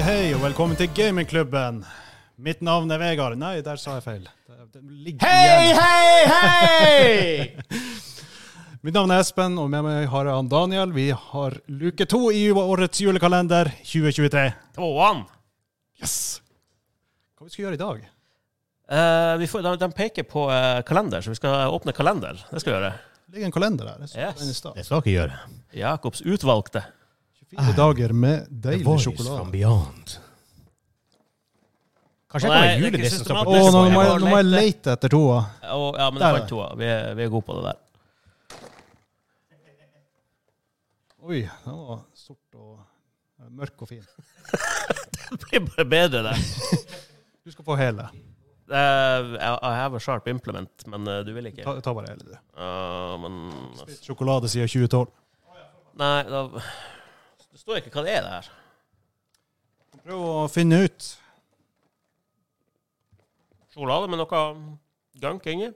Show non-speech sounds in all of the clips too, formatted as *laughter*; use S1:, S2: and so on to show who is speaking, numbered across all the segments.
S1: Velkommen til gamingklubben. Mitt navn er Vegard. Nei, der sa jeg feil. Det- det ligger
S2: Hei,
S1: igjen.
S2: hei,
S1: *laughs*
S2: hei!
S1: Mitt navn er Espen, og med meg har jeg han Daniel. Vi har luke to i årets julekalender 2023.
S3: Tvåan.
S1: Yes! Hva vi skal gjøre i dag?
S3: Eh, vi får, de, de peker på eh, kalender, så vi skal åpne kalender. Det skal vi gjøre.
S1: Det ligger en kalender der. Jeg så
S3: Yes.
S1: den i stad.
S2: Det skal dere gjøre.
S3: Jakobs utvalgte.
S1: 24 dager med
S2: The
S1: deilig
S2: Voice from
S1: sjokolade.
S2: Beyond. Kanskje jeg
S3: Nei, det er
S2: kan ha
S3: ikke
S2: julenissen som
S3: systematisk.
S1: Å, nå må jeg, nå må jeg lete etter toa.
S3: Og, ja,
S1: Der
S3: men jeg
S1: er
S3: fant
S1: det.
S3: to. Vi, er- vi er gode på det der. *laughs*
S1: Oi, den var sort og eh, mørk og fin.
S3: Det blir bare bedre, det.
S1: Du skal få hele.
S3: Eh, I I have a sharp implement, men eh, du vil ikke.
S1: Ta, ta bare hele, du.
S3: Eh, men
S1: Spist Sjokolade siden 2012.
S3: Nei, da Det står ikke hva det er, det her.
S1: Prøv å finne ut.
S3: Sjokolade med noe gunk inni.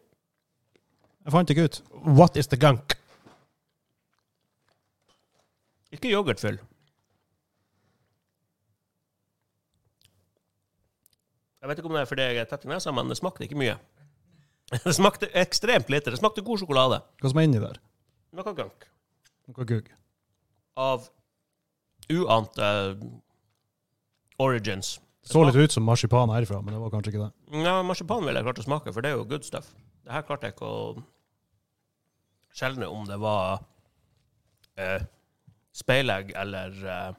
S1: Jeg fant ikke ut.
S2: What is the gunk?
S3: Ikke yoghurtfyll. Jeg vet ikke om det er fordi jeg er tett i nesa, men det smakte ikke mye. *laughs* Det smakte ekstremt lite. Det smakte god sjokolade.
S1: Hva som er inni der?
S3: Noe gunk.
S1: Noe gugg.
S3: Av uante eh, origins.
S1: Så litt ut som marsipan herifra, men det var kanskje ikke det.
S3: Ja, marsipan ville jeg klart å smake, for det er jo good stuff. Det her klarte jeg ikke å skjelne om det var eh, speilegg eller eh,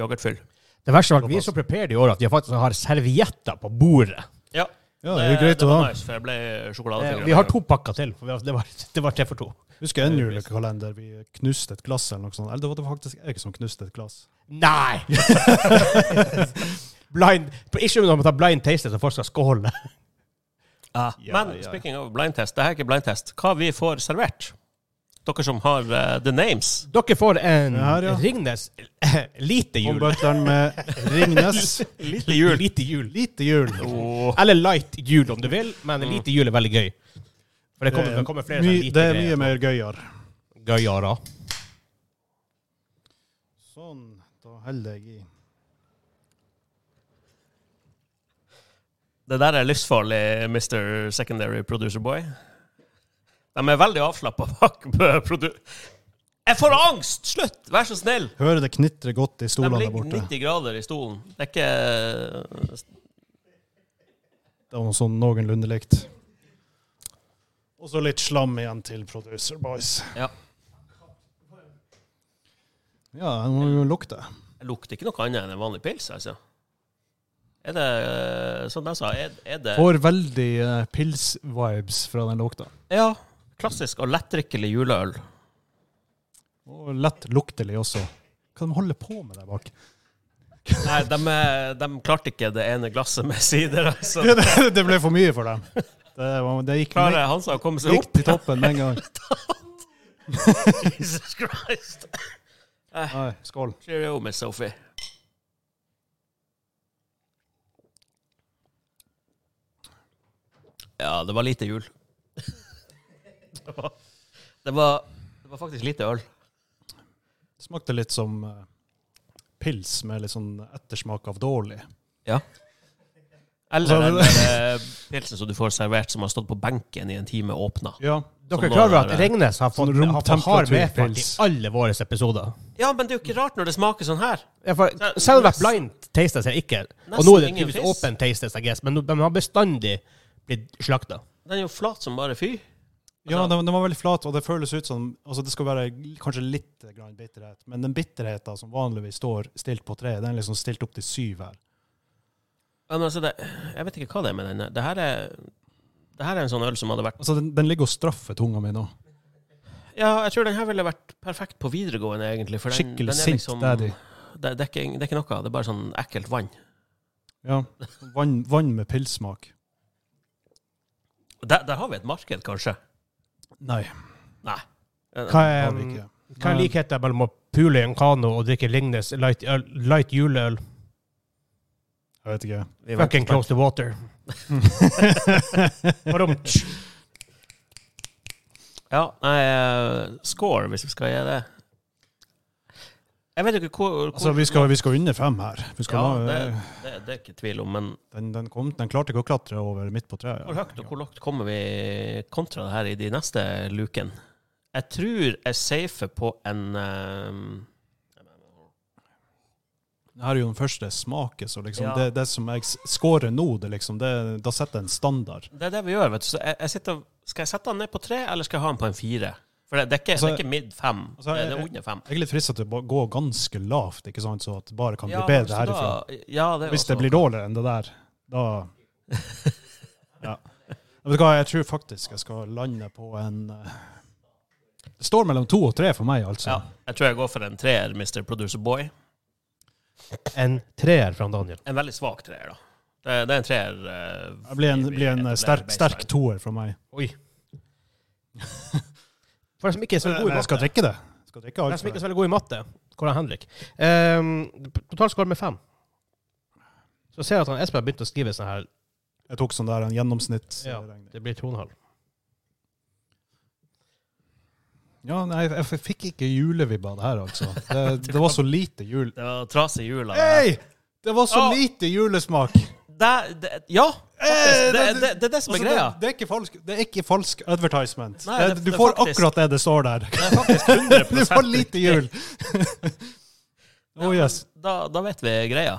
S3: yoghurtfyll.
S2: Det verste var at vi er så prepared i år at vi faktisk har servietter på bordet.
S3: Ja,
S1: Ja, det er jo greit å ha.
S3: var nice, for jeg ble
S2: Eh,
S3: sjokoladefingre.
S2: Vi har to pakker til, for vi har- det var, det var tre for to.
S1: Husker en julekalender vi knuste et glass eller noe sånt. Eller det var det faktisk jeg som knuste et glass.
S2: Nei! blind, ikke om man tar blind taste så folk skal skåle.
S3: Ja, Men speaking of blind test, det her er ikke blind test. Hva vi får servert? Dere som har eh, the names.
S2: Dere får en
S1: Ja, ja.
S2: Ringnes lite
S1: Og
S2: jul.
S1: butleren med Ringnes.
S2: Lite jul. Lite jul.
S1: Lite jul.
S3: Åh,
S2: Eller light jul, om du vil, men lite jul er veldig gøy. For det kommer, det kommer flere
S1: my,
S2: sånne lite
S1: det er mye
S2: greier.
S1: mer gøyere.
S2: gøyere.
S1: Sånn. Da heller jeg i.
S3: Det der er livsfarlig, Mr. Secondary Producer Boy. De er veldig avslappa *laughs* bak produ... Jeg får angst! Slutt! Vær så snill!
S1: Hører det knitre godt i
S3: De
S1: stolene der
S3: ligger
S1: borte.
S3: 90 grader i stolen. Det er eh, ikke
S1: Det var noe sånn noenlunde likt. Og så litt slam igjen til Producer Boys.
S3: Ja.
S1: Ja, den må jo lukte.
S3: Det lukter ikke noe annet enn en vanlig pils, altså. Er det eh, Som jeg sa, er, er det
S1: Får veldig eh, pils-vibes fra den lukta.
S3: Ja. Klassisk og lettdrikkelig juleøl.
S1: Og lett luktelig også. Hva de holder på med der
S3: *laughs*
S1: bak?
S3: Nei, de, er- de klarte ikke det ene glasset med sider, altså.
S1: Det, det, det ble for mye for dem. Det, var, det gikk,
S3: Klarer Hansa å komme seg
S1: gikk
S3: opp?
S1: til toppen med en
S3: *laughs*
S1: gang.
S3: Jesus Christ.
S1: Nei, skål.
S3: Cheerio, Miss Sophie. Ja, det var lite jul. Det var, det var, det var faktisk lite øl.
S1: Det smakte litt som eh, pils med litt sånn ettersmak av dårlig.
S3: Eller
S1: Altså,
S3: den der, eh, pilsen som du får servert som har stått på benken i en time åpna.
S1: Ja.
S2: Dere
S3: Sånn
S2: er klar over
S3: var
S2: at
S3: det.
S2: Ringnes har fått
S1: Sånn
S2: har fått hard medfart i
S1: romtemperaturpils.
S2: alle våre episoder?
S3: Ja, men det er jo ikke rart når det smaker sånn her.
S2: Ja, for
S3: Nei,
S2: Selv om det er
S3: nesten-
S2: blind tastes eller ikke, og
S3: Nesten
S2: nå er det
S3: ingen
S2: typisk
S3: fisk.
S2: open tastes, I guess, men de har bestandig blitt slakta.
S3: Den er jo flat som bare fy.
S1: Ja,
S3: Altså-
S1: den, den var veldig flat, og det føles ut som altså Det skal være kanskje litt grann bitterhet, men den bitterheten som vanligvis står stilt på tre, den er liksom stilt opp til syv her.
S3: Ja, men altså det, jeg vet ikke hva det er med den. Det her er, det her er en sånn øl som hadde vært
S1: Altså, den, den ligger og straffer tunga mi nå.
S3: Ja, jeg tror den her ville vært perfekt på videregående, egentlig. For den,
S1: Skikkelig
S3: den er
S1: sint
S3: liksom-
S1: daddy.
S3: Det, det, er ikke, det er ikke noe. Det er bare sånn ekkelt vann.
S1: Ja. Vann, vann med pilssmak.
S3: Der, der har vi et marked, kanskje.
S1: Nei,
S3: Nei.
S2: Hva
S1: det
S2: er,
S1: har vi ikke.
S2: hva er
S1: Men-
S2: likheten mellom å pule i en kano og drikke Lignes light, øl, light juleøl?
S1: Jeg vet
S3: *laughs*
S1: ikke.
S3: Vi venter
S2: Fucking
S3: spent.
S2: close to
S1: *laughs*
S2: water. Varmt.
S3: Ja, nei, eh, score, hvis vi skal gjøre det. Jeg vet ikke hvor, hvor
S1: Altså, vi skal, vi skal under fem her. Vi skal
S3: ja,
S1: nå-
S3: det, det, det er ikke tvil om, men
S1: den, den, kom, den klarte ikke å klatre over midt på treet.
S3: hvor høyt og hvor langt kommer vi kontra det her i de neste lukene? Jeg tror jeg safer på en eh,
S1: Det her er jo den første smaken, så liksom,
S3: Ja.
S1: det, det som jeg s- scorer nå, det liksom, det, da setter jeg en standard.
S3: Det er det vi gjør, vet du. Så jeg, jeg sitter, og- skal jeg sette den ned på tre, eller skal jeg ha den på en fire? For det, det, er, ikke, det
S1: Altså,
S3: er ikke mid fem,
S1: altså,
S3: det, det
S1: jeg-
S3: er under fem.
S1: Jeg er litt fristet til å ba- gå ganske lavt, ikke sant, så at det bare kan bli
S3: Ja,
S1: bedre
S3: så
S1: herifra.
S3: Da, ja, det er
S1: Hvis det
S3: også-
S1: blir dårligere enn det der, da
S3: *laughs*
S1: Ja. Vet du hva, jeg tror faktisk jeg skal lande på en eh, Det står mellom to og tre for meg, altså.
S3: ja, Jeg tror jeg går for en treer, Mr. Producer Boy.
S2: En treer fra Daniel.
S3: En veldig svak treer, da. Det, det er en treer. eh,
S1: Det blir en,
S3: fordi vi
S1: blir en eh,
S3: etablerer
S1: sterk,
S3: baseline.
S1: sterk toer for meg.
S2: Oi. For dem som ikke er så
S1: Men
S2: god i
S1: jeg skal
S2: matte,
S1: drikke det. Jeg Skal drikke
S2: for dem
S1: alt
S2: som
S1: for
S2: ikke
S1: det.
S2: er så veldig god i matte hvor er Henrik? Um, Totalskål med fem. Så ser jeg at han Espen har begynt å skrive sånn her
S1: Jeg tok sånn der en gjennomsnitt.
S2: Ja. Det blir tonehalv.
S1: Ja, nei, jeg f- fikk ikke julevibba av det her, altså.
S3: *laughs*
S1: Det, det var så lite jul.
S3: Det var tras i hjula.
S1: Hei! Det var så
S3: Å!
S1: lite julesmak!
S3: Det, det, ja,
S1: Eh,
S3: faktisk. Det,
S1: det-
S3: det, det er det som er
S1: Altså,
S3: greia.
S1: det, det, er ikke falsk, det er ikke falsk advertisement.
S3: Nei,
S1: det,
S3: det-
S1: du
S3: det er
S1: får
S3: faktisk-
S1: akkurat det det står der.
S3: Det er faktisk 100
S1: *laughs* Du får lite *laughs* jul!
S3: Ja,
S1: oh
S3: men
S1: yes.
S3: Da, da vet vi greia.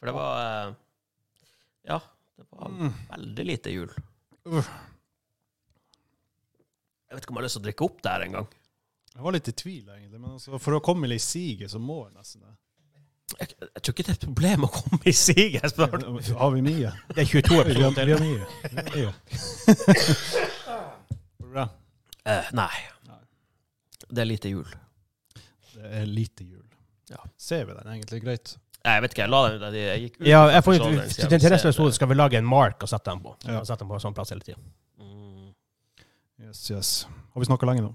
S3: For det var eh, Ja, det var
S1: Mm.
S3: veldig lite jul.
S1: Uff.
S3: Jeg vet ikke om jeg har lyst til å drikke opp det her engang.
S1: Jeg var litt i tvil, egentlig. Men altså, for å komme litt i siget, så må jeg nesten det.
S3: Jeg, jeg tror ikke det er et problem å komme i siget. jeg spør.
S1: Har vi *laughs* mye?
S2: Det er 22
S1: Vi har, vi
S2: episoder.
S1: har mye. Vi har mye. *laughs* Bra.
S3: Eh, nei. Det er lite jul.
S1: Det er lite jul.
S3: Ja.
S1: Ser vi den egentlig greit?
S3: Nei, Jeg vet ikke, jeg la den der jeg gikk ut.
S2: Ja, jeg får,
S3: Sånn,
S2: til, til neste episode skal vi lage en mark og sette den på.
S1: Ja.
S2: Og sette den på en sånn plass hele tiden.
S3: Mm.
S1: Yes, yes. Har vi snakka lenge nå?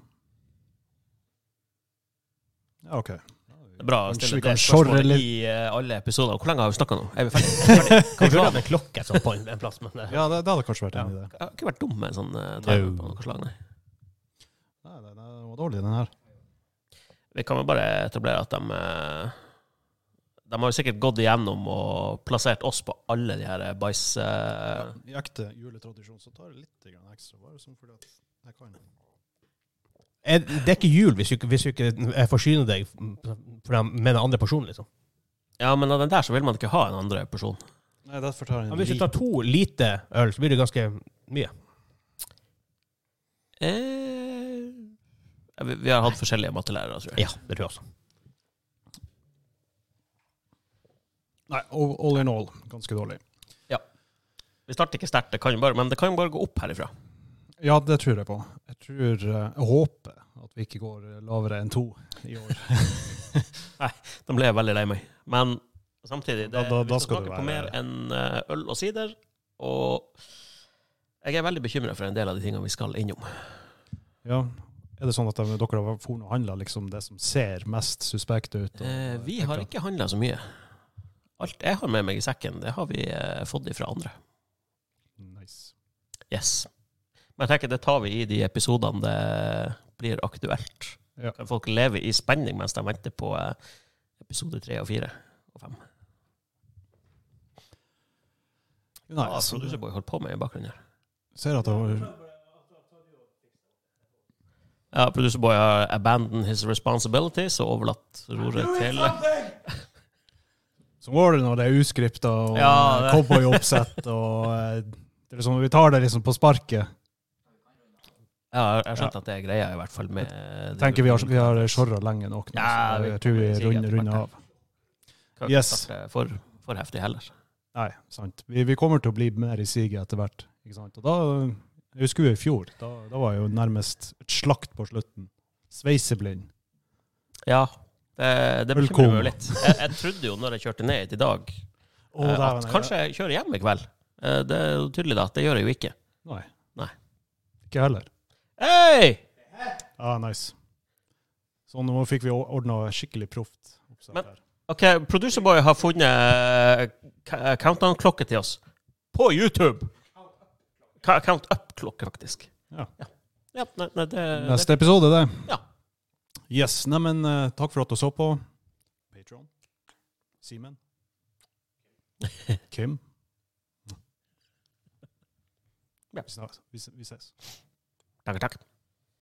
S1: Ja, OK.
S3: Det er bra å
S1: Kanskje
S3: stille
S1: vi
S3: det
S1: kan sjorre
S3: spørsmålet
S1: litt.
S3: i eh, alle episoder. Hvor lenge har vi snakka nå? Er vi *laughs* ferdig?
S2: Kan vi lage en klokke sånn på en, en plass, men eh,
S1: Ja, det, det hadde kanskje vært en idé.
S3: Jeg har ikke vært dum med en sånn uh, timer
S2: No.
S3: på noe slag, nei.
S1: Nei, den er- den var dårlig, den her.
S3: Vi kan vel bare etablere at de eh, De har jo sikkert gått igjennom og plassert oss på alle de her eh, bæsj...
S1: Ja, I ekte juletradisjon så tar jeg litt grann ekstra, bare sånn fordi at jeg kan.
S2: er- Det er ikke jul hvis du ikke, hvis du ikke eh, forsyner deg for den, med den andre porsjonen, liksom.
S3: Ja, men av den der så vil man ikke ha en andre person.
S1: Nei, derfor tar jeg en
S2: Ja, men hvis du
S1: liten
S2: tar to lite øl, så blir det ganske mye.
S3: Eh, ja, vi, vi har hatt forskjellige mattelærere, tror jeg.
S2: Ja, det tror jeg også.
S1: Nei, all all in all, ganske dårlig.
S3: Vi starter ikke sterkt, det kan jo bare, men det kan jo bare gå opp
S1: *laughs*
S3: herifra.
S1: Ja, det tror jeg på. Jeg tror eh, Jeg håper at vi ikke går eh, lavere enn to i
S3: *laughs*
S1: år.
S3: Da ble jeg veldig lei meg. Men samtidig, det,
S1: Da- da- da
S3: vi skal,
S1: skal du
S3: smake
S1: være-
S3: på mer enn eh, øl og sider. Og jeg er veldig bekymra for en del av de tingene vi skal innom.
S1: Ja. Er det sånn at de- dere har forn og handla liksom det som ser mest suspekt ut? og-
S3: Eh, vi har ikke handla så mye. Alt jeg har med meg i sekken, det har vi eh, fått ifra andre.
S1: Nice.
S3: Yes. Men jeg tenker det tar vi i de episodene det blir aktuelt.
S1: Ja.
S3: Kan Folk lever i spenning mens de venter på eh, episode tre og fire og fem.
S1: Nei,
S3: Hva har
S1: altså,
S3: producer Boy holdt på med i bakgrunnen her?
S1: ser at det var
S3: Ja, Producer Boy har abandoned his responsibilities og overlatt roret til
S1: Som går det når det er uskripta og
S3: Ja,
S1: eh,
S3: det-
S1: cowboy-oppsett og eh, det er liksom, Vi tar det liksom på sparket.
S3: Ja, jeg skjønte at det er greia, i hvert fall med
S1: Tenker vi har, vi har sjorra lenge nok nå,
S3: Ja,
S1: så
S3: vi
S1: jeg tror vi
S3: kommer sikkert
S1: runder,
S3: tilbake.
S1: runder av.
S3: Kan ikke
S1: Yes.
S3: starte For, for heftig heller.
S1: Nei, sant. Vi, vi kommer til å bli mer i siget etter hvert. Ikke sant? Og da, jeg husker jo i fjor, da, da var jeg jo nærmest et slakt på slutten. Sveiseblind.
S3: Ja, det, det bekymrer
S1: Velkommen.
S3: meg jo litt. Jeg, jeg trodde jo når jeg kjørte ned hit i dag,
S1: Å,
S3: eh,
S1: dæven,
S3: at
S1: jeg-
S3: kanskje jeg kjører hjem i kveld. Eh, Det er jo tydelig da at det gjør jeg jo ikke.
S1: Nei.
S3: Nei.
S1: Ikke heller.
S3: Hei!
S1: Ja, nice. Så nå fikk vi ordna skikkelig proft. oppsett
S3: Men-
S1: her.
S3: Ok, Producer Boy har funnet eh, ka- countdown-klokke til oss. På YouTube! Ka- Count up-klokke, faktisk.
S1: Ja.
S3: Ja, ja nei, nei, eh, det, det
S1: Neste episode, det.
S3: Ja.
S1: Yes. Neimen, eh, takk for at du så på. Patron.
S3: *laughs*
S1: Simen. Kim.
S3: Ja.
S1: Vi, snak- vi, vi ses.
S3: Takk, takk.